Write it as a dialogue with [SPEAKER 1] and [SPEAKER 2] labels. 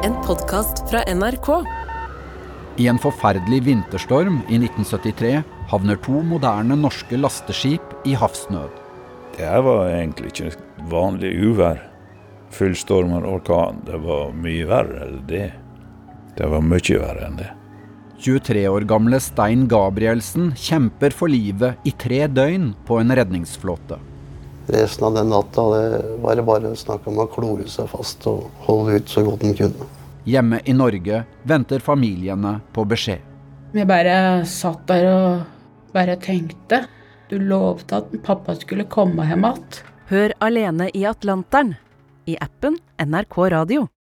[SPEAKER 1] podkast fra NRK.
[SPEAKER 2] I en forferdelig vinterstorm i 1973 havner to moderne norske lasteskip i havsnød.
[SPEAKER 3] Det her var egentlig ikke vanlig uvær. Fullstorm og orkan, det var mye verre enn det. Det var mye verre enn det.
[SPEAKER 2] 23 år gamle Stein Gabrielsen kjemper for livet i tre døgn på en redningsflåte.
[SPEAKER 4] Resten av den natta det var det bare snakk om å klore seg fast og holde ut så godt en kunne.
[SPEAKER 2] Hjemme i Norge venter familiene på beskjed.
[SPEAKER 5] Jeg bare satt der og bare tenkte. Du lovte at pappa skulle komme hjem igjen.
[SPEAKER 1] Hør Alene i Atlanteren i appen NRK Radio.